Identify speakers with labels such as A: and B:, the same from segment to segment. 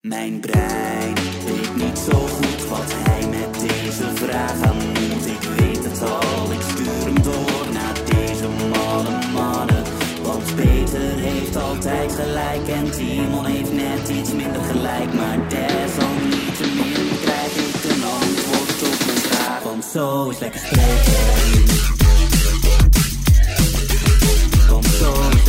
A: Mijn brein weet niet zo goed wat hij met deze vraag aan moet. Ik weet het al, ik stuur hem door naar deze malle mannen. Want Peter heeft altijd gelijk en Timon heeft net iets minder gelijk. Maar desalniettemin krijg ik een antwoord op mijn vraag. Want zo is lekker spreken. Want zo is lekker spreken.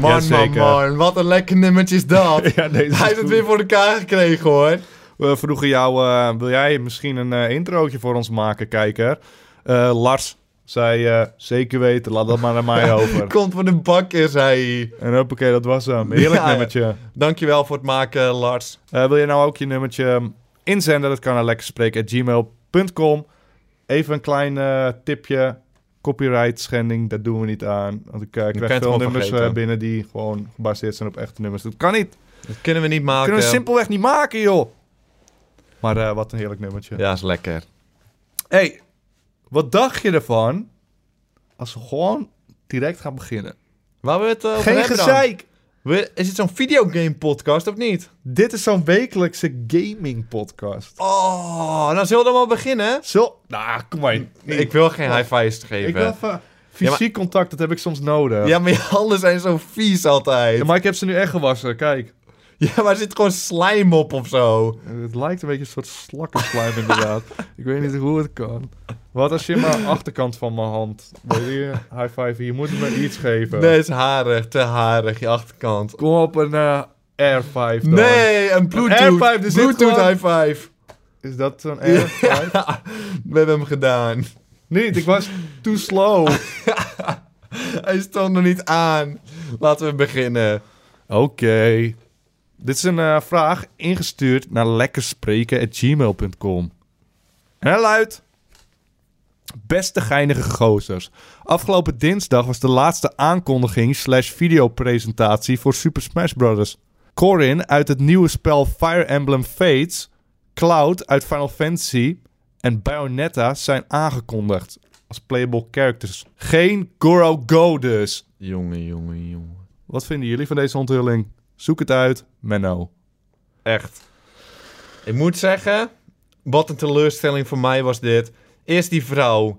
B: Man, man,
C: Jazeker.
B: man. Wat een lekker nummertje is dat.
C: Ja, deze is
B: Hij heeft het
C: goed.
B: weer voor elkaar gekregen, hoor.
C: We vroegen jou, eh, wil jij misschien een eh, introotje voor ons maken, kijker? Eh, Lars zei, eh, zeker weten, laat dat maar naar mij over.
B: Komt van de bak, is hij.
C: En hoppakee, dat was hem. Heerlijk
B: Ja, ja.
C: nummertje.
B: Dankjewel voor het maken, Lars.
C: Eh, wil je nou ook je nummertje ehm, inzenden? Dat kan naar lekkerspreken.gmail.com. Even een klein eh, tipje. Copyright schending, dat doen we niet aan. Want ik eh,
B: kan je
C: krijg
B: het
C: veel
B: gewoon
C: nummers eh,
B: vergeten.
C: binnen die gewoon gebaseerd zijn op echte nummers. Dat kan niet.
B: Dat kunnen we niet maken.
C: Kunnen we simpelweg niet maken, joh. Maar eh, wat een heerlijk nummertje.
B: Ja, is lekker.
C: hey, wat dacht je ervan als we gewoon direct gaan beginnen?
B: Waar we het eh, over
C: Geen
B: hebben dan?
C: gezeik.
B: We- Is het zo'n videogame-podcast of niet?
C: Dit is zo'n wekelijkse gaming podcast.
B: Oh, nou zullen we dan maar beginnen?
C: Zo, nou, kom maar.
B: Ik wil geen high fives
C: Ik
B: geven.
C: wil even- Fysiek contact, dat heb ik soms nodig.
B: Ja, maar je handen zijn zo vies altijd.
C: Ja, maar ik heb ze nu echt gewassen, kijk.
B: Ja, maar er zit gewoon slijm op of zo.
C: Het lijkt een beetje een soort slakkenslijm inderdaad. Ik weet niet hoe het kan. Wat als je maar achterkant van mijn hand... Weet je, high five, je moet me iets geven.
B: Dat is harig, te harig, je achterkant.
C: Kom op een eh, air five dan.
B: Nee, een
C: Een
B: Bluetooth.
C: airpipe, er zit
B: Bluetooth
C: gewoon-
B: high five.
C: Is dat zo'n air five?
B: We hebben hem gedaan.
C: Niet, ik was too slow. Oké.
B: Hij stond nog niet aan. Laten we beginnen.
C: Dit is een eh, vraag ingestuurd naar lekkerspreken.gmail.com. En hij luidt... Beste geinige gozers. Afgelopen dinsdag was de laatste aankondiging slash videopresentatie voor Super Smash Bros. Corin uit het nieuwe spel Fire Emblem Fates, Cloud uit Final Fantasy en Bayonetta zijn aangekondigd als playable characters. Geen Goro Go dus.
B: Jongen, jongen, jongen.
C: Wat vinden jullie van deze onthulling? Zoek het uit, Menno.
B: Echt. Ik moet zeggen, wat een teleurstelling voor mij was dit. Eerst die vrouw,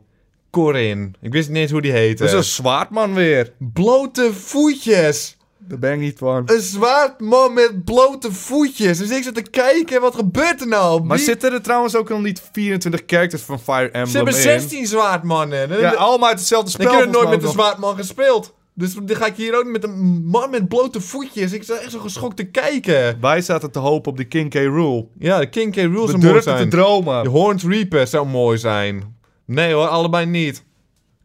B: Corin. Ik wist niet eens hoe die heette.
C: zwaardman weer. Eh,
B: Blote voetjes.
C: Daar ben ik niet van.
B: Een zwaard man met blote voetjes. Dus ik zat te kijken, wat gebeurt er nou?
C: Maar
B: Wie-
C: zitten er trouwens ook al niet 24 characters van Fire Emblem
B: Ze hebben
C: in?
B: 16 zwaardmannen.
C: Ja, allemaal uit hetzelfde spel.
B: Ik heb er nooit
C: volgens
B: met
C: mij
B: een
C: ook
B: zwaardman gespeeld. Dus dan ga ik hier ook met een man met blote voetjes. Ik zat echt zo geschokt te kijken.
C: nog. Wij zaten te hopen op die King K. Rule.
B: Ja, de King K. Rule
C: We
B: zou mooi
C: durfden te
B: zijn.
C: dromen.
B: De Horned Reaper zou mooi zijn. Nee hoor, allebei niet.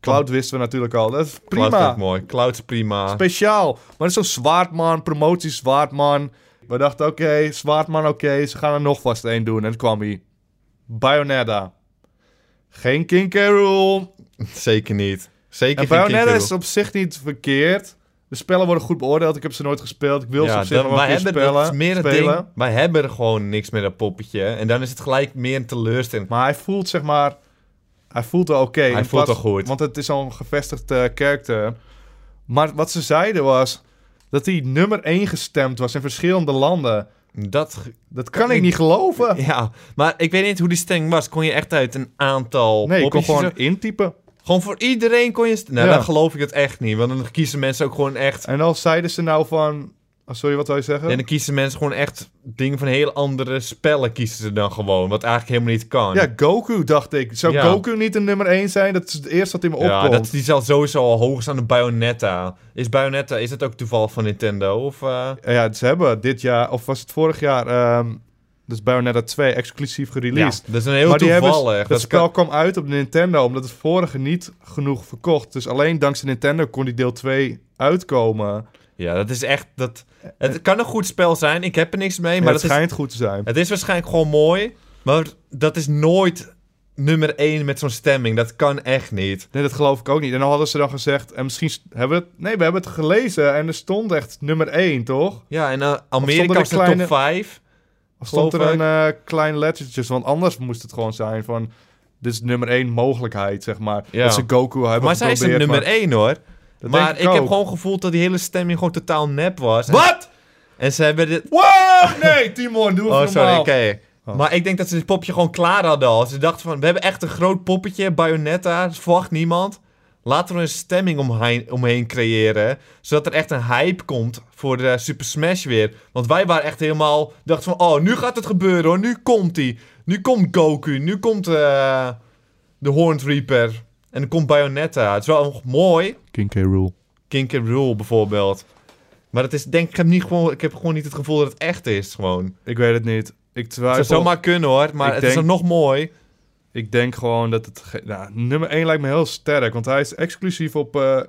C: Cloud wisten we natuurlijk al. Dat is
B: Cloud is ook
C: prima.
B: mooi. Cloud is prima.
C: Speciaal. Maar dat is zo'n zwaardman, promotie zwaardman. We dachten, oké, zwaardman, oké, ze gaan er nog vast één doen. En toen kwam hij. Bayonetta. Geen King Carol.
B: Zeker niet. Zeker
C: En
B: geen King K.
C: Bayonetta is
B: Rool.
C: op zich niet verkeerd. De spellen worden goed beoordeeld. Ik heb ze nooit gespeeld. Ik wil ze
B: Ja,
C: op zich
B: dan-
C: nog wel
B: wij
C: een keer
B: hebben dat is
C: spelen.
B: meer het
C: spelen.
B: ding. Wij hebben er gewoon niks met dat poppetje. En dan is het gelijk meer een teleurstelling.
C: Maar hij voelt zeg maar... Hij voelt wel oké. in
B: voelt
C: plaats-
B: wel goed.
C: Want het is al een gevestigd eh karakter. Maar wat ze zeiden was... dat hij nummer 1 gestemd was in verschillende landen.
B: Dat ge-
C: Dat kan ik niet geloven.
B: Ja, maar ik weet niet hoe die stemming was. Kon je echt uit een aantal
C: Nee, ik kon
B: poppetjes
C: gewoon
B: zo-
C: intypen.
B: Gewoon voor iedereen kon je... st- Nou,
C: Ja.
B: dan geloof ik het echt niet. Want dan kiezen mensen ook gewoon echt...
C: En al zeiden ze nou van... oh, sorry, wat wil je zeggen?
B: En dan kiezen mensen gewoon echt dingen van hele andere spellen kiezen ze dan gewoon. Wat eigenlijk helemaal niet kan.
C: Ja, Goku dacht ik. Zou
B: Ja.
C: Goku niet een nummer 1 zijn? Dat is het eerste wat in me
B: Ja,
C: opkomt.
B: dat, die zal sowieso al hoog staan dan Bayonetta. Is Bayonetta, is dat ook toeval van Nintendo? Of, eh,
C: Ja, ze hebben dit jaar, of was het vorig jaar, ehm dus Bayonetta 2 exclusief
B: Ja,
C: gereleased.
B: dat is een heel
C: maar die hebben,
B: toevallig.
C: dat spel kwam uit op Nintendo, omdat het vorige niet genoeg verkocht. Dus alleen dankzij Nintendo kon die deel 2 uitkomen.
B: Ja, dat is echt... Dat, het kan een goed spel zijn. Ik heb er niks mee.
C: Maar
B: Maar
C: het
B: dat is
C: schijnt goed te zijn.
B: Het is waarschijnlijk gewoon mooi, maar dat is nooit nummer 1 met zo'n stemming. Dat kan echt niet.
C: Nee, dat geloof ik ook niet. En dan hadden ze dan gezegd, en misschien st- hebben we het... Nee, we hebben het gelezen en er stond echt nummer 1, toch?
B: Ja, en eh,
C: stond er
B: Amerika
C: een
B: was de
C: kleine-
B: top 5.
C: Of stond er
B: Geloof
C: een eh, klein lettertje, want anders moest het gewoon zijn van... Dit is nummer 1 mogelijkheid, zeg maar.
B: Ja.
C: Dat ze Goku hebben
B: Maar zij is
C: geprobeerd,
B: nummer 1 hoor.
C: Dat
B: maar
C: denk
B: ik,
C: ik, ook.
B: heb gewoon gevoeld dat die hele stemming gewoon totaal nep was. En-
C: Wat?
B: En ze hebben dit...
C: Wow! Nee, Timon, doe het
B: Oh,
C: normaal.
B: sorry, oké.
C: Oh.
B: Maar ik denk dat ze dit popje gewoon klaar hadden al. Ze dachten van, we hebben echt een groot poppetje, Bayonetta, dat verwacht niemand. Laten we een stemming omheen, omheen creëren, zodat er echt een hype komt voor de Super Smash weer. Want wij waren echt helemaal, dachten van, oh, nu gaat het gebeuren hoor, nu komt die. Nu komt Goku, nu komt eh, de Horned Reaper en dan komt Bayonetta. Het is wel nog mooi,
C: King K. Rule.
B: King K. Rool bijvoorbeeld. Maar dat is, denk ik, ik heb, niet gewoon, ik heb gewoon niet het gevoel dat het echt is, gewoon.
C: Ik weet het niet. Ik
B: Het
C: twijfel.
B: zou zomaar kunnen hoor, maar
C: Ik
B: het is
C: denk-
B: dan nog mooi.
C: Ik denk gewoon dat het... ge- Nou, nummer 1 lijkt me heel sterk. Want hij is exclusief op eh,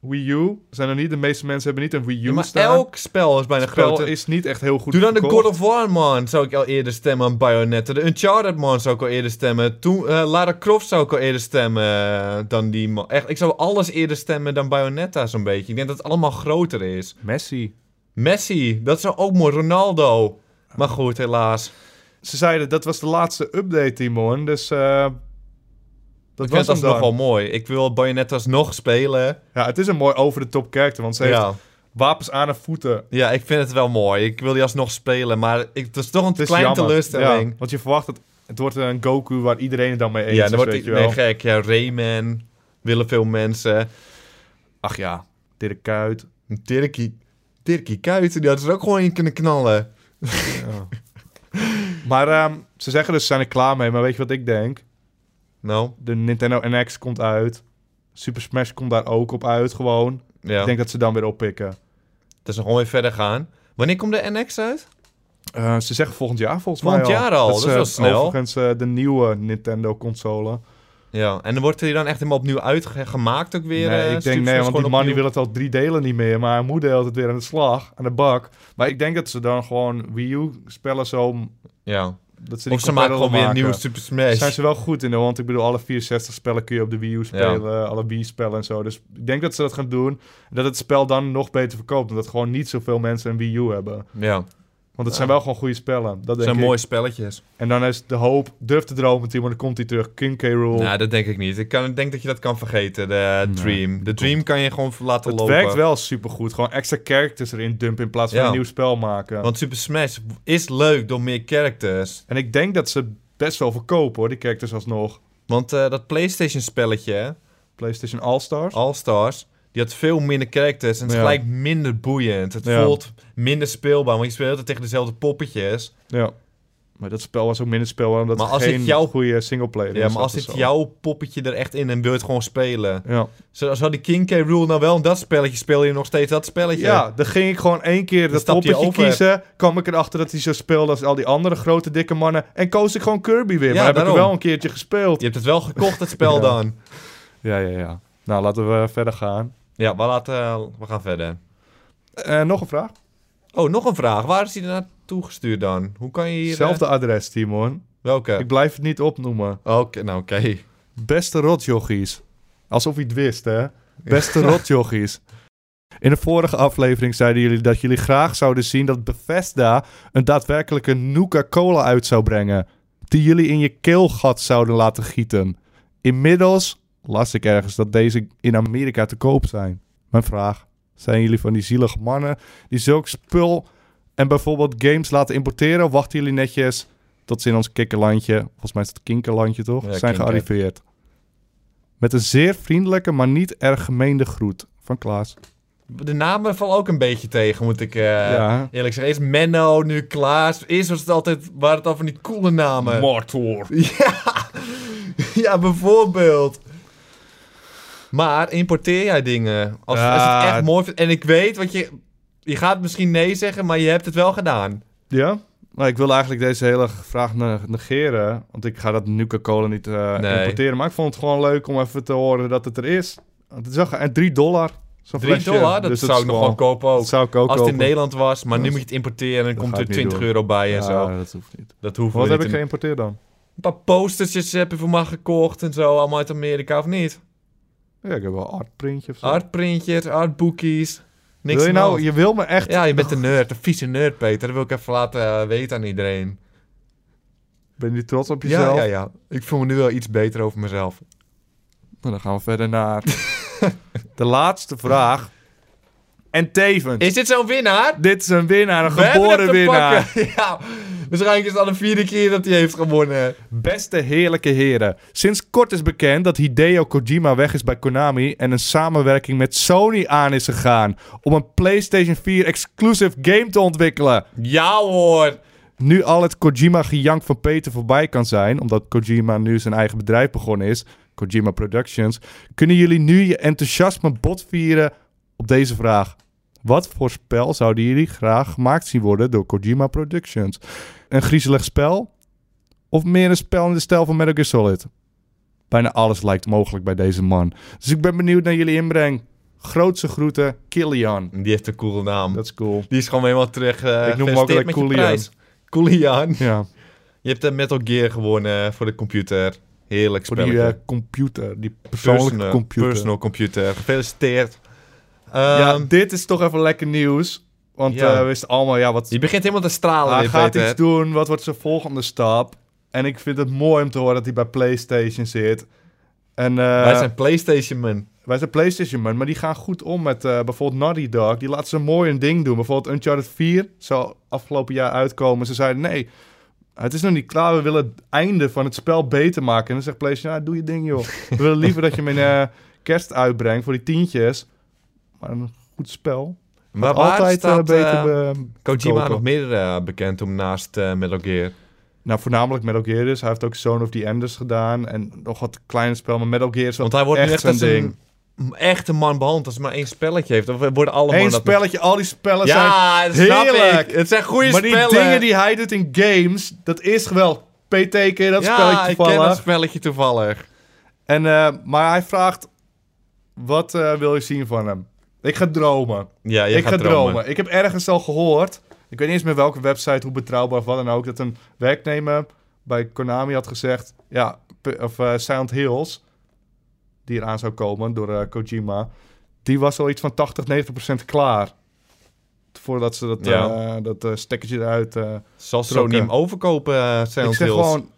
C: Wii U. Zijn er niet... De meeste mensen hebben niet een Wii U
B: maar
C: staan.
B: elk spel is bijna
C: Het spel
B: groot.
C: is niet echt heel goed
B: Doe dan de
C: verkocht.
B: God of War man, zou ik al eerder stemmen aan Bayonetta. De Uncharted man zou ik al eerder stemmen. Toen, eh, Lara Croft zou ik al eerder stemmen eh, dan die man. Echt, ik zou alles eerder stemmen dan Bayonetta zo'n beetje. Ik denk dat het allemaal groter is.
C: Messi.
B: Messi, dat zou ook mooi. Ronaldo. Maar goed, helaas.
C: Ze zeiden dat was de laatste update, Timon. Dus eh, dat
B: Ik
C: was
B: vind
C: hem
B: dat nog
C: dan.
B: wel mooi. Ik wil Bayonetta's nog spelen.
C: Ja, het is een mooi over-de-top character. Want ze heeft
B: Ja.
C: wapens aan haar voeten.
B: ja, ik vind het wel mooi. Ik wil die alsnog spelen, maar ik, het is toch een
C: Het is
B: kleine
C: jammer.
B: teleurstelling.
C: Ja, want je verwacht dat het wordt een Goku waar iedereen het dan mee eens
B: Ja,
C: is,
B: dan wordt
C: weet
B: het
C: je wel.
B: nee, gek. Ja, Rayman willen veel mensen.
C: Ach ja, Dirk Kuyt.
B: Dirkie, Dirkie Kuiten, die hadden ze er ook gewoon in kunnen knallen.
C: Maar ehm, ze zeggen dus ze zijn er klaar mee. Maar weet je wat ik denk?
B: Nou,
C: De Nintendo NX komt uit. Super Smash komt daar ook op uit gewoon.
B: ja.
C: Ik denk dat ze dan weer oppikken.
B: Dat ze gewoon weer verder gaan. Wanneer komt de NX uit?
C: Eh, ze zeggen volgend jaar volgens
B: Volgend
C: mij
B: jaar al, dat is
C: eh,
B: wel snel.
C: Overigens eh, de nieuwe Nintendo console.
B: Ja, en dan wordt die dan echt helemaal opnieuw uitgemaakt ook weer?
C: nee,
B: eh,
C: ik
B: Super Smash
C: denk nee, want die
B: gewoon
C: man die wil
B: opnieuw?
C: het al drie delen niet meer. Maar hij moet de hele tijd weer aan de slag, aan de bak. Maar ik denk dat ze dan gewoon Wii U-spellen zo...
B: Ja.
C: Dat ze die
B: Of ze maken gewoon weer een nieuwe Super Smash.
C: Zijn ze wel goed in, hoor, want ik bedoel, alle 64 spellen kun je op de Wii U spelen, eh, alle Wii-spellen en zo. Dus ik denk dat ze dat gaan doen. En dat het spel dan nog beter verkoopt, omdat gewoon niet zoveel mensen een Wii U hebben.
B: Ja, het
C: Want het zijn wel gewoon goede spellen, dat denk
B: zijn
C: ik.
B: mooie spelletjes.
C: En dan is de hoop, durf te dromen, Timo, dan komt hij terug. King K. Rool.
B: Nou, dat denk ik niet. Ik kan, ik denk dat je dat kan vergeten, de
C: Oh. Nee,
B: Dream. De Dream kan je gewoon laten
C: het
B: lopen.
C: werkt wel supergoed. Gewoon extra characters erin dumpen in plaats van
B: Ja.
C: een nieuw spel maken.
B: Want Super Smash is leuk door meer characters.
C: En ik denk dat ze best wel verkopen, hoor, die characters alsnog.
B: Want eh, dat PlayStation-spelletje,
C: PlayStation All-Stars.
B: All-Stars, die had veel minder characters en het is
C: Ja.
B: gelijk minder boeiend. Het
C: Ja.
B: voelt minder speelbaar, want je speelt altijd tegen dezelfde poppetjes.
C: ja. Maar dat spel was ook minder spel, omdat
B: Maar
C: er
B: als dit
C: geen
B: jouw-
C: goede singleplayer
B: Ja,
C: in
B: maar als
C: zat of
B: dit
C: zo.
B: jouw poppetje er echt in en wil je het gewoon spelen.
C: Ja.
B: Zo, zou die King K. Rule nou wel in dat spelletje speel je nog steeds dat spelletje?
C: ja, dan ging ik gewoon één keer dat
B: stapte je
C: poppetje
B: over.
C: kiezen. kwam ik erachter dat hij zo speelde als al die andere grote dikke mannen. En koos ik gewoon Kirby weer.
B: Ja,
C: maar heb ik
B: daarom.
C: wel een keertje gespeeld.
B: Je hebt het wel gekocht, dat spel
C: Ja.
B: dan.
C: Ja, ja, ja. Nou, laten we verder gaan.
B: Ja, we, laten, we gaan verder.
C: Eh, nog een vraag.
B: Oh, nog een vraag. Waar is die naartoe gestuurd dan? Hoe kan je hier... eh,
C: Zelfde adres, Timon.
B: welke?
C: Ik blijf het niet opnoemen.
B: Oké, nou oké.
C: Beste rotjochies. Alsof hij het wist, hè? Beste rotjochies. In de vorige aflevering zeiden jullie dat jullie graag zouden zien dat Bethesda een daadwerkelijke Nuka-Cola uit zou brengen. Die jullie in je keelgat zouden laten gieten. Inmiddels las ik ergens dat deze in Amerika te koop zijn. Mijn vraag, zijn jullie van die zielige mannen die zulk spul en bijvoorbeeld games laten importeren? Of wachten jullie netjes tot ze in ons kikkerlandje, volgens mij is het kinkerlandje toch,
B: Ja,
C: zijn
B: kinker.
C: gearriveerd? Met een zeer vriendelijke, maar niet erg gemeende groet van Klaas.
B: De namen vallen ook een beetje tegen, moet ik eh,
C: Ja.
B: eerlijk zeggen. Eerst Menno, nu Klaas. Eerst was het altijd, waren het al van die coole namen.
C: Martor.
B: ja. ja, bijvoorbeeld. Maar importeer jij dingen? Als, als je het
C: Ja.
B: echt mooi vindt. En ik weet, wat je, je gaat misschien nee zeggen, maar je hebt het wel gedaan.
C: Ja? Maar ik wil eigenlijk deze hele vraag ne- negeren. Want ik ga dat Nuka-Cola niet eh,
B: Nee.
C: importeren. Maar ik vond het gewoon leuk om even te horen dat het er is. Want het is wel ge- en 3 dollar. Zo'n
B: 3
C: flesje.
B: dollar, dat
C: Dus
B: zou
C: is
B: ik nog wel kopen ook.
C: Dat zou ik ook
B: als het in
C: kopen.
B: Nederland was, maar nu
C: Dat-
B: moet je het importeren en dan
C: dat
B: komt
C: ga
B: er
C: ik niet
B: 20
C: doen.
B: euro bij en zo.
C: Ja, dat hoeft niet.
B: Dat hoeven
C: Wat
B: we
C: heb
B: niet
C: ik
B: te doen.
C: geïmporteerd dan?
B: Een paar postertjes heb je voor mij gekocht en zo, allemaal uit Amerika of niet?
C: Ja, ik heb wel een artprintje of zo.
B: Artprintjes, artboekies. Oh, Niks
C: wil je nou,
B: aan de
C: je wil me
B: hand.
C: echt...
B: Ja, je bent een nerd, een vieze nerd, Peter. Dat wil ik even laten eh, weten aan iedereen.
C: Ben je niet trots op
B: Ja,
C: jezelf?
B: ja, ja. Ik voel me nu wel iets beter over mezelf.
C: Nou, dan gaan we verder naar... De laatste vraag. En tevens.
B: Is dit zo'n winnaar?
C: Dit is een winnaar, een
B: We hebben
C: geboren
B: hem te
C: winnaar.
B: pakken. Ja, waarschijnlijk is het al de vierde keer dat hij heeft gewonnen.
C: Beste heerlijke heren. Sinds kort is bekend dat Hideo Kojima weg is bij Konami en een samenwerking met Sony aan is gegaan om een PlayStation 4 exclusive game te ontwikkelen.
B: Ja hoor.
C: Nu al het Kojima-gejank van Peter voorbij kan zijn, omdat Kojima nu zijn eigen bedrijf begonnen is, Kojima Productions, kunnen jullie nu je enthousiasme botvieren op deze vraag. Wat voor spel zouden jullie graag gemaakt zien worden door Kojima Productions? Een griezelig spel? Of meer een spel in de stijl van Metal Gear Solid? Bijna alles lijkt mogelijk bij deze man. Dus ik ben benieuwd naar jullie inbreng. Grootse groeten, Kilian.
B: Die heeft een coole naam.
C: Dat is cool.
B: Die is gewoon helemaal terug. eh,
C: Ik noem hem ook
B: gefeliciteerd
C: altijd
B: met je
C: Coolian.
B: prijs. Coolian.
C: Ja,
B: Je hebt de Metal Gear gewonnen voor de computer. Heerlijk
C: voor die
B: spelletje.
C: eh, computer, die persoonlijke computer.
B: Personal computer. Gefeliciteerd.
C: Ja,
B: Ehm,
C: dit is toch even lekker nieuws. Want
B: Ja.
C: eh, we wisten allemaal, ja, wat,
B: je begint helemaal te stralen.
C: hij
B: dit,
C: gaat
B: Peter.
C: iets doen. Wat wordt zijn volgende stap? En ik vind het mooi om te horen dat hij bij PlayStation zit. En, eh,
B: Wij zijn PlayStation man.
C: wij zijn PlayStation man, maar die gaan goed om met eh, bijvoorbeeld Naughty Dog. Die laten ze mooi een ding doen. Bijvoorbeeld Uncharted 4 zou afgelopen jaar uitkomen. Ze zeiden nee, het is nog niet klaar. We willen het einde van het spel beter maken. En dan zegt PlayStation, ja, doe je ding joh. We willen liever dat je mijn eh, kerst uitbrengt voor die tientjes. Maar een goed spel.
B: Maar waar
C: Altijd eh,
B: staat
C: beter.
B: eh,
C: be-
B: Kojima
C: kopen.
B: nog meer eh, bekend om naast eh, Metal Gear?
C: nou, voornamelijk Metal Gear dus. Hij heeft ook Zone of the Enders gedaan. En nog wat kleine spel. Maar Metal Gear is wel
B: Want hij wordt nu
C: echt
B: echt als
C: zijn ding.
B: een een echte man behandeld als hij maar één spelletje heeft. Of we worden allemaal
C: Eén
B: dat-
C: spelletje, al die spellen zijn...
B: Ja, dat snap
C: heerlijk.
B: ik. Het zijn goede
C: maar
B: spellen.
C: die dingen die hij doet in games, dat is geweld. PT ken je dat
B: ja,
C: spelletje
B: ik ken dat
C: vallen.
B: spelletje toevallig.
C: En, eh, maar hij vraagt, wat eh, wil je zien van hem? Ik ga dromen.
B: Ja, je
C: ik
B: gaat
C: ga
B: dromen.
C: dromen. Ik heb ergens al gehoord, ik weet niet eens meer welke website, hoe betrouwbaar of wat dan ook, dat een werknemer bij Konami had gezegd, ja, p- of eh, Silent Hills, die eraan zou komen door eh, Kojima, die was al iets van 80, 90 klaar. Voordat ze dat,
B: Ja.
C: eh, dat eh, stekkertje eruit... eh,
B: Zal Sony
C: Trokken.
B: hem overkopen, eh
C: ik
B: Silent
C: zeg
B: Hills?
C: gewoon,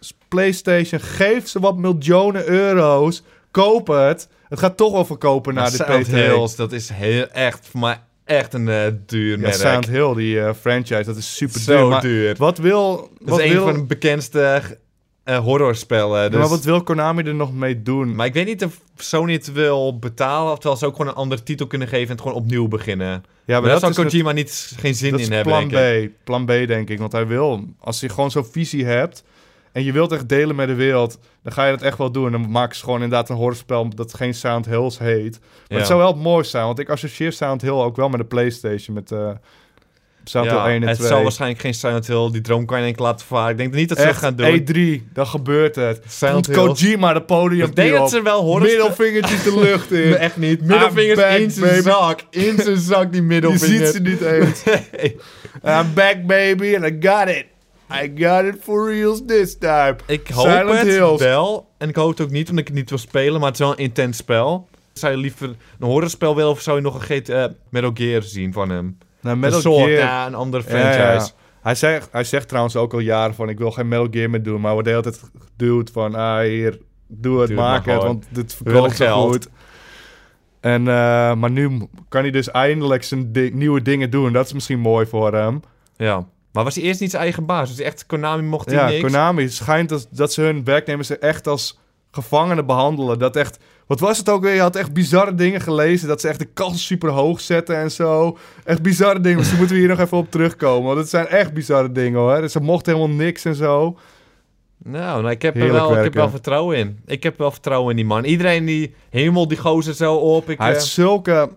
C: s- PlayStation, geef ze wat miljoenen euro's. Koop het. Het gaat toch wel verkopen
B: Maar
C: naar de
B: Silent
C: PT.
B: Hills, dat is heel, echt voor mij echt een eh, duur
C: Ja,
B: merk.
C: Silent Hill, die eh, franchise, dat is super
B: Zo
C: duur. Maar
B: duur.
C: Wat wil...
B: Dat
C: Wat
B: is een
C: wil
B: van de bekendste eh, horrorspellen.
C: Ja,
B: Dus...
C: maar wat wil Konami er nog mee doen?
B: Maar ik weet niet of Sony het wil betalen, terwijl ze ook gewoon een andere titel kunnen geven en het gewoon opnieuw beginnen.
C: ja,
B: Ja, maar daar zal
C: is het-
B: Kojima niet, geen zin
C: dat
B: in
C: is
B: hebben,
C: plan
B: denk ik.
C: B. Plan B, denk ik. Want hij wil... Als je gewoon zo'n visie hebt... En je wilt echt delen met de wereld... Dan ga je dat echt wel doen. Dan maken ze gewoon inderdaad een horrorspel... Dat geen Silent Hills heet. Maar
B: Ja.
C: het zou wel mooi zijn, want ik associeer Silent Hill ook wel met de PlayStation, met eh Silent
B: Ja,
C: Hill 1 en
B: het
C: 2.
B: zal waarschijnlijk geen Silent Hill, die droom kan je denk ik laten varen. Ik denk niet dat ze dat
C: Echt,
B: gaan doen.
C: E3, dan gebeurt het.
B: Silent
C: Doet
B: Hills.
C: Kojima de podium
B: ik denk dat ze wel horror...
C: Middelvingertjes de lucht in.
B: Nee, echt niet. Ah,
C: I'm back,
B: Middelvingers in zijn
C: baby.
B: zak. In zijn zak, die
C: Je
B: middelvinger.
C: ziet ze niet eens. I'm back baby and I got it. I got it for reals this time.
B: Ik hoop
C: Silent
B: het
C: Hills.
B: wel. En ik hoop het ook niet, omdat ik het niet wil spelen. Maar het is wel een intens spel. Zou je liever een horrorspel willen of zou je nog een GTA eh, Metal Gear zien van hem?
C: Nou,
B: een soort, ja, een andere
C: Ja, ja, ja.
B: franchise.
C: Hij, zegt, hij zegt trouwens ook al jaren van... ik wil geen Metal Gear meer doen. Maar wordt de hele tijd geduwd van... ah, hier, doe het,
B: Doe het maar
C: maak het.
B: gewoon.
C: Want dit
B: willen
C: verkoopt zo
B: geld.
C: goed. En, eh, maar nu m- kan hij dus eindelijk zijn di- nieuwe dingen doen. Dat is misschien mooi voor hem.
B: ja. Maar was hij eerst niet zijn eigen baas? Dus echt, Konami mocht hij
C: ja,
B: niks?
C: Konami schijnt dat, dat ze hun werknemers echt als gevangenen behandelen. Dat echt... Wat was het ook weer? Je had echt bizarre dingen gelezen. Dat ze echt de kans super hoog zetten en zo. Echt bizarre dingen. Dus daar moeten we hier nog even op terugkomen. Want het zijn echt bizarre dingen hoor. Dus ze mochten helemaal niks en zo.
B: Nou, nou, ik, heb er
C: Heerlijk
B: wel, ik heb
C: werken.
B: wel vertrouwen in. Ik heb wel vertrouwen in die man. Iedereen die hemel die gozer zo op. Ik,
C: Hij
B: eh,
C: heeft zulke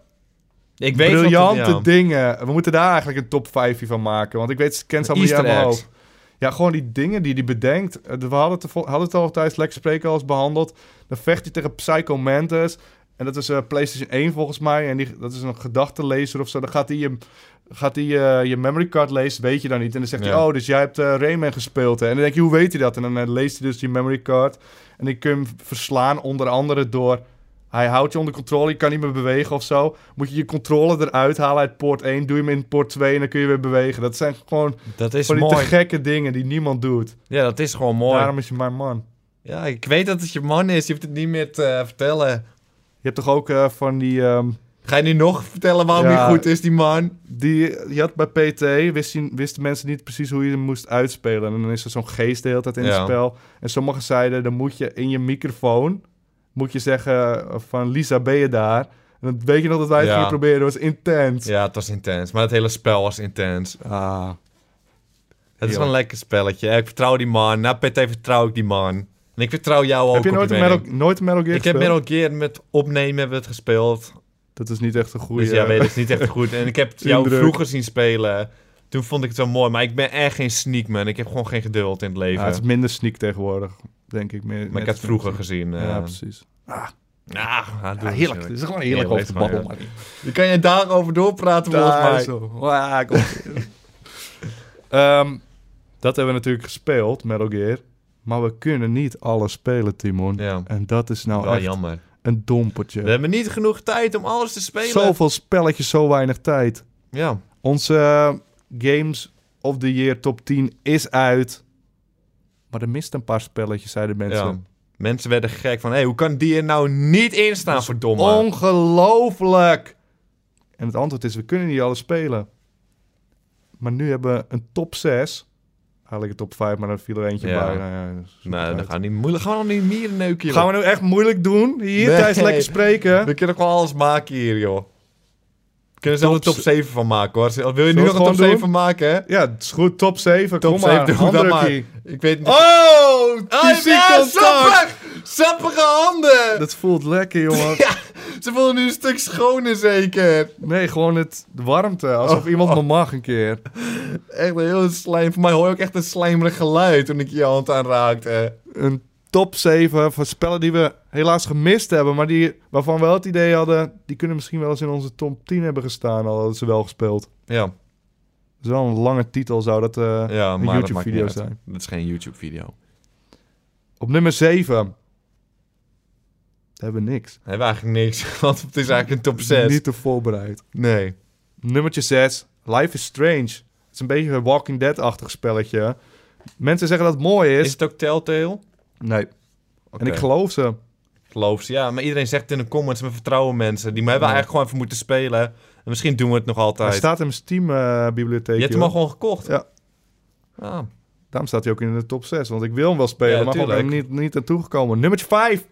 B: ik weet wat-
C: briljante
B: ja.
C: dingen. We moeten daar eigenlijk een top 5 van maken. Want ik weet, ze kent ze allemaal niet
B: Easter
C: uit mijn
B: eggs.
C: hoofd. Ja, gewoon die dingen die hij bedenkt. Eh, We hadden het, er vol- hadden het al tijdens Lex Spreken al eens behandeld. Dan vecht hij tegen Psycho Mantis. En dat is eh, PlayStation 1 volgens mij. En die, dat is een gedachtenlezer of zo. Dan gaat hij je, gaat hij, eh, je memory card lezen, weet je dan niet. En dan zegt hij,
B: Ja.
C: oh, dus jij hebt eh, Rayman gespeeld. Hè? En dan denk je, hoe weet hij dat? En dan eh, leest hij dus die memory card. En dan kun je hem verslaan onder andere door... Hij houdt je onder controle, je kan niet meer bewegen of zo. Moet je je controle eruit halen uit poort 1, doe je hem in poort 2 en dan kun je weer bewegen. Dat zijn gewoon
B: Dat is
C: van die te
B: mooi.
C: gekke dingen die niemand doet.
B: Ja, dat is gewoon mooi.
C: Daarom is je mijn man.
B: Ja, ik weet dat het je man is. Je hoeft het niet meer te eh, vertellen.
C: Je hebt toch ook eh, van die... ehm,
B: Ga je nu nog vertellen waarom
C: Ja.
B: hij goed is, die man?
C: die je had bij PT, wist je- wisten mensen niet precies hoe je hem moest uitspelen. En dan is er zo'n geest de hele tijd in
B: Ja.
C: het spel. En sommigen zeiden, dan moet je in je microfoon... moet je zeggen eh, van, Lisa, ben je daar? En dan weet je nog dat wij het
B: Ja.
C: gingen proberen. Dat was intens.
B: Ja, het was intens. Maar het hele spel was intens.
C: Ah.
B: Het is
C: Heel.
B: wel een lekker spelletje. Ik vertrouw die man. Na PT vertrouw ik die man. En ik vertrouw jou ook.
C: Heb je
B: op
C: nooit
B: die
C: een Metal,
B: mening.
C: nooit een Metal Gear
B: Ik heb
C: gespeeld?
B: Metal Gear met opnemen hebben we het gespeeld.
C: Dat is niet echt een goede...
B: Dus ja, weet ik, het is niet echt goed. En ik heb het jou
C: eh, Indruk.
B: vroeger zien spelen. Toen vond ik het wel mooi. Maar ik ben echt geen sneak man. Ik heb gewoon geen geduld in het leven.
C: Ja, het is minder sneak tegenwoordig, denk ik. Meer,
B: maar ik had het vroeger gezien. eh.
C: Ja, precies.
B: Ah, ah, doe
C: Ja,
B: het
C: heerlijk.
B: natuurlijk.
C: Het is gewoon heerlijk over
B: Heerlijk,
C: de babbel,
B: ja.
C: man.
B: Je kan je daarover doorpraten volgens mij.
C: Daar zo. Ehm, dat hebben we natuurlijk gespeeld, Metal Gear. Maar we kunnen niet alles spelen, Timon.
B: Ja,
C: En dat is nou
B: wel
C: echt
B: jammer.
C: een dompertje.
B: We hebben niet genoeg tijd om alles te spelen.
C: Zoveel spelletjes, zo weinig tijd.
B: Ja,
C: Onze eh, Games of the Year top 10 is uit. Maar er mist een paar spelletjes, zeiden mensen.
B: ja. Mensen werden gek van, hé, hoe kan die er nou niet in staan, verdomme?
C: Ongelooflijk! En het antwoord is, we kunnen niet alles spelen. Maar nu hebben we een top 6. Eigenlijk een top 5, maar dan viel er eentje
B: Ja.
C: bij. Nou ja, dat is
B: Nee,
C: uit.
B: dan gaan we niet moeilijk. Gaan we nog niet meer neuken, joh.
C: Gaan we nou echt moeilijk doen? Hier,
B: Nee.
C: tijdens lekker spreken.
B: We kunnen gewoon alles maken hier, joh. We kunnen zelf een top
C: ze-
B: 7 van maken, hoor. Wil je
C: we
B: nu
C: het
B: nog een top
C: gewoon
B: 7
C: doen?
B: maken, hè?
C: Ja, het is goed. Top 7.
B: Top
C: Kom maar,
B: 7, doe dat maar.
C: handdrukkie.
B: Ik weet niet... Ah,
C: Oh, fysiek
B: ja,
C: contact.
B: sappig! Sappige handen!
C: Dat voelt lekker, jongen.
B: Ja, ze voelen nu een stuk schoner, zeker.
C: Nee, gewoon het de warmte. Alsof
B: Oh.
C: iemand me mag een keer.
B: Echt een heel slijm. Voor mij hoor je ook echt een slijmerig geluid toen ik je hand aanraakte.
C: een top 7 van spellen die we helaas gemist hebben, maar die, waarvan we wel het idee hadden, die kunnen misschien wel eens in onze top 10 hebben gestaan, al hadden ze wel gespeeld.
B: Ja,
C: Dat is wel een lange titel, zou dat eh,
B: ja
C: een
B: maar dat maakt niet
C: YouTube-video
B: uit.
C: zijn.
B: Dat is geen YouTube-video.
C: Op nummer 7 hebben we niks.
B: We hebben eigenlijk niks, want het is eigenlijk een top 6.
C: Niet te voorbereid.
B: Nee.
C: Nummertje 6, Life is Strange. Het is een beetje een Walking Dead-achtig spelletje. Mensen zeggen dat het mooi is.
B: Is het ook Telltale?
C: Nee. En ik
B: Oké.
C: geloof ze.
B: geloof ze. Ja, maar iedereen zegt in de comments, we vertrouwen mensen. Die maar hebben we
C: Ja.
B: eigenlijk gewoon even moeten spelen. En misschien doen we het nog altijd.
C: Hij staat in mijn eh, Steam-bibliotheek.
B: je hebt hem al gewoon gekocht.
C: Ja.
B: Ah,
C: Daarom staat hij ook in de top 6. Want ik wil hem wel spelen,
B: Ja,
C: maar gewoon ben ik
B: tuurlijk.
C: niet, niet naartoe gekomen. Nummertje 5.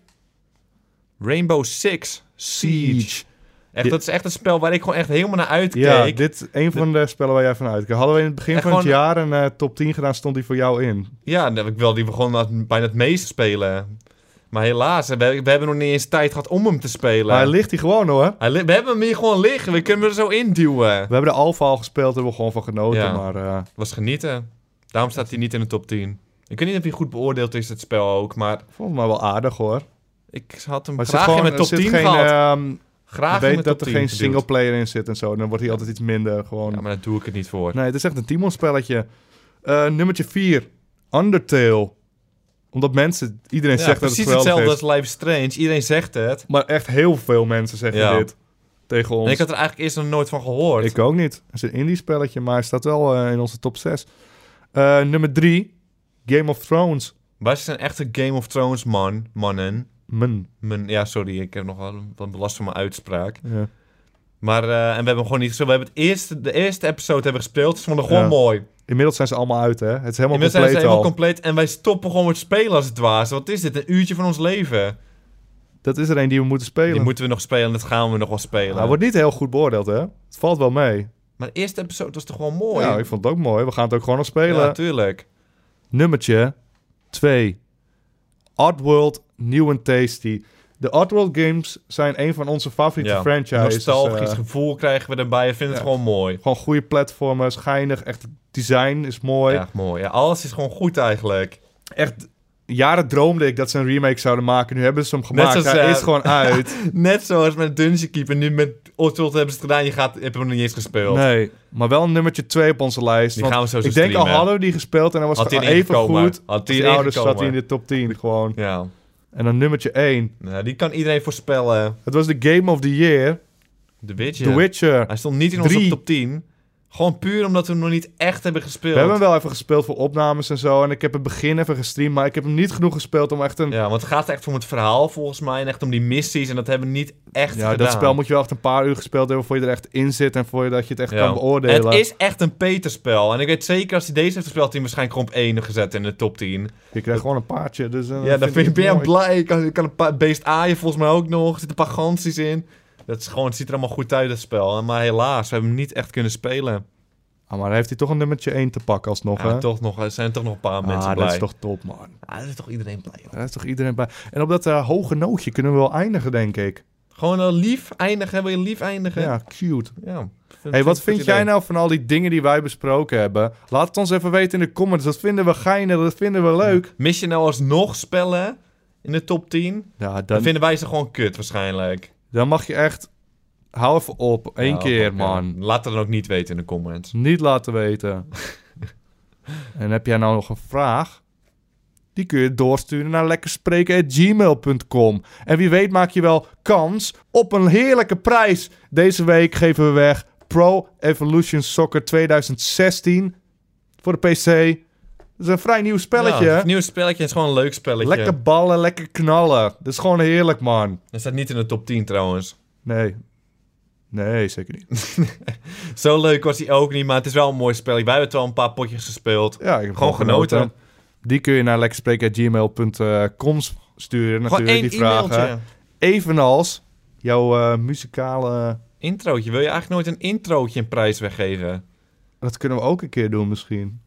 B: Rainbow Six Siege. Echt,
C: Dit-
B: dat is echt een spel waar ik gewoon echt helemaal naar uitkeek.
C: Ja, dit is een van de spellen waar jij van uitkeek. Hadden we in het begin
B: Echt
C: van het
B: gewoon-
C: jaar een eh, top 10 gedaan, stond die voor jou in.
B: Ja, nou, ik wil die begon als- bijna het meest spelen. Maar helaas, we, we hebben nog niet eens tijd gehad om hem te spelen.
C: Maar hij ligt hier gewoon hoor.
B: Hij li- we hebben hem hier gewoon liggen. We kunnen hem er zo induwen.
C: We hebben de alfa al gespeeld, hebben we gewoon van genoten.
B: Ja.
C: Maar eh,
B: Was genieten. Daarom staat hij niet in de top 10. Ik weet niet of hij goed beoordeeld is, het spel ook. Maar
C: ik vond het maar wel aardig hoor.
B: ik had hem
C: Maar er zit
B: graag in
C: gewoon,
B: mijn
C: er
B: top
C: zit
B: 10
C: geen,
B: gehad.
C: ehm,
B: Graag in
C: weet
B: mijn
C: dat
B: top
C: er
B: 10
C: geen
B: geduwd.
C: singleplayer in zit en zo. Dan wordt hij altijd iets minder. Gewoon.
B: Ja, maar daar doe ik het niet voor.
C: Nee, het is echt een Timon spelletje. Eh, nummertje 4. Undertale. Omdat mensen, iedereen
B: Ja,
C: zegt dat het
B: precies
C: geweldig
B: hetzelfde
C: is.
B: als Life is Strange. Iedereen zegt het.
C: Maar echt heel veel mensen zeggen
B: Ja.
C: dit tegen ons.
B: En ik had er eigenlijk eerst nog nooit van gehoord.
C: Ik ook niet. Het is een indie spelletje, maar hij staat wel eh, in onze top 6. Eh, nummer 3, Game of Thrones.
B: Wij zijn echte Game of Thrones man, mannen.
C: Men.
B: Men, ja, sorry, ik heb nog wel een- wat belast van mijn uitspraak.
C: Ja.
B: Maar, eh, en we hebben hem gewoon niet gespeeld. We hebben het eerste, de eerste episode hebben we gespeeld. Ze vonden het gewoon
C: Ja.
B: mooi.
C: Inmiddels zijn ze allemaal uit, hè? Het is helemaal
B: Inmiddels zijn
C: compleet
B: ze
C: al.
B: helemaal compleet. En wij stoppen gewoon met spelen als het ware. Wat is dit? Een uurtje van ons leven.
C: dat is er een die we moeten spelen.
B: Die moeten we nog spelen. Dat gaan we nog wel spelen.
C: Hij wordt niet heel goed beoordeeld, hè? Het valt wel mee.
B: Maar de eerste episode was toch gewoon mooi?
C: Ja, ik vond het ook mooi. We gaan het eh, ook gewoon nog spelen.
B: Ja, tuurlijk.
C: Nummertje 2. Oddworld Nieuw en Tasty. De Oddworld games zijn een van onze favoriete
B: Ja.
C: franchises.
B: Nostalgisch
C: eh.
B: gevoel krijgen we erbij. Ik vind het
C: ja.
B: gewoon mooi.
C: Gewoon goede platformers, geinig. Echt, het design is mooi.
B: Ja, echt mooi. Ja, alles is gewoon goed eigenlijk.
C: Echt, jaren droomde ik dat ze een remake zouden maken. Nu hebben ze hem gemaakt.
B: zoals,
C: Hij
B: eh,
C: is gewoon uit.
B: Net zoals met Dungeon Keeper. Nu met Oddworld hebben ze het gedaan. Je gaat, je hebt hem nog niet eens gespeeld.
C: nee, maar wel een nummertje 2 op onze lijst.
B: Die
C: want
B: gaan we zo
C: ik denk al
B: streamen.
C: hadden we die gespeeld en dan was
B: Had
C: het
B: hij
C: gewoon
B: erin
C: even
B: gekomen.
C: goed. Dus
B: Had
C: Die
B: hij erin
C: ouders zat hij in
B: gekomen.
C: de top 10 gewoon.
B: Ja.
C: En dan nummertje 1.
B: Nou, die kan iedereen voorspellen.
C: Het was de Game of the Year.
B: The Witcher.
C: The Witcher.
B: Hij stond niet in onze
C: Drie.
B: top 10. Gewoon puur omdat we hem nog niet echt hebben gespeeld.
C: We hebben hem wel even gespeeld voor opnames en zo. En ik heb het begin even gestreamd, maar ik heb hem niet genoeg gespeeld om echt een... Ja,
B: Ja, want het gaat echt om het verhaal volgens mij en echt om die missies. En dat hebben we niet echt gedaan.
C: dat spel moet je wel echt een paar uur gespeeld hebben voor je er echt in zit en voor je dat je het echt kan beoordelen.
B: Het is echt een Peterspel. En ik weet zeker als hij deze heeft gespeeld, had hij waarschijnlijk gewoon op 1 gezet in de top 10.
C: Je krijgt gewoon een paardje, dus... eh,
B: ja, dan vind ik,
C: ik
B: ben je
C: mooi.
B: blij. Ik kan, ik kan een paar beest aaien volgens mij ook nog. Er zitten een paar gansies in. Dat is gewoon, het ziet er allemaal goed uit, dat spel. Maar helaas, we hebben hem niet echt kunnen spelen.
C: Ah, maar heeft hij toch een nummertje 1 te pakken alsnog,
B: Ja,
C: hè?
B: toch nog, er zijn toch nog een paar mensen
C: ah,
B: blij.
C: dat is toch top, man.
B: Ah, dat is toch iedereen blij, joh.
C: Daar is toch iedereen bij. En op dat eh, hoge nootje kunnen we wel eindigen, denk ik.
B: Gewoon eh, lief eindigen, wil je lief eindigen?
C: Ja, cute.
B: Ja.
C: hey, wat vind jij
B: nou?
C: nou van al die dingen die wij besproken hebben? Laat het ons even weten in de comments. Dat vinden we geinig, dat vinden we leuk.
B: Mis je nou alsnog spellen in de top 10?
C: Ja, dan,
B: Dan vinden wij ze gewoon kut waarschijnlijk.
C: dan mag je echt... Hou even op. Eén
B: Ja,
C: keer,
B: oké.
C: man.
B: Laat het dan ook niet weten in de comments.
C: Niet laten weten. en heb jij nou nog een vraag? Die kun je doorsturen naar lekkerspreken.gmail.com. En wie weet maak je wel kans op een heerlijke prijs. Deze week geven we weg Pro Evolution Soccer 2016 voor de PC. Dat is een vrij nieuw spelletje.
B: Ja,
C: hè?
B: het nieuwe spelletje is gewoon een leuk spelletje.
C: lekker ballen, lekker knallen. Dat is gewoon heerlijk, man.
B: Dat staat niet in de top 10 trouwens.
C: Nee. Nee, zeker niet.
B: Zo leuk was hij ook niet, maar het is wel een mooi spelletje. Wij hebben het wel een paar potjes gespeeld.
C: Ja, ik heb
B: Gewoon genoten.
C: Die kun je naar lekkerspreken.gmail.com
B: Gewoon
C: sturen. Natuurlijk,
B: één
C: die vragen.
B: e-mailtje.
C: Evenals jouw eh, muzikale.
B: Introotje. Wil je eigenlijk nooit een introotje een prijs weggeven?
C: Dat kunnen we ook een keer doen, misschien.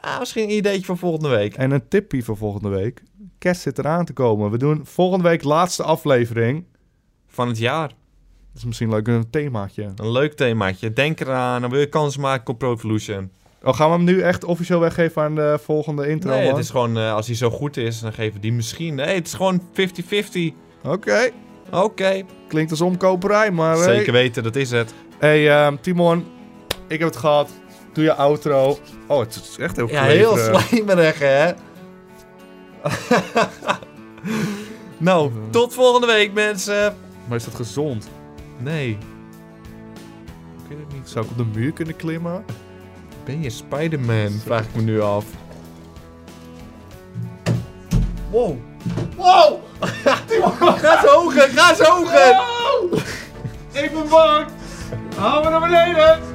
B: Ah, misschien een ideetje voor volgende week.
C: En een tipje voor volgende week. Kerst zit eraan te komen. We doen volgende week laatste aflevering.
B: Van het jaar.
C: Dat is misschien leuk een themaatje.
B: Een leuk themaatje. Denk eraan. Dan wil je kans maken op Pro Evolution.
C: Oh, gaan we hem nu echt officieel weggeven aan de volgende intro?
B: Nee, het
C: man?
B: is gewoon... eh, als hij zo goed is, dan geven we die misschien. Nee, het is gewoon 50-50.
C: Oké.
B: Oké.
C: Klinkt als omkoperij, maar. hey.
B: Zeker weten, dat is het.
C: Hey, ehm, Timon, ik heb het gehad. Doe je outro. Oh, het is echt heel
B: Ja, heel
C: kleverig.
B: slijmerig, hè? nou, tot volgende week, mensen.
C: Maar is dat gezond?
B: Nee. Ik weet het niet.
C: Zou ik op de muur kunnen klimmen?
B: Ben je Spider-Man? Vraag ik me nu af. Wow. Wow! ga zo hoger, ga zo hoger!
C: Ik ben bang! Hou me naar beneden!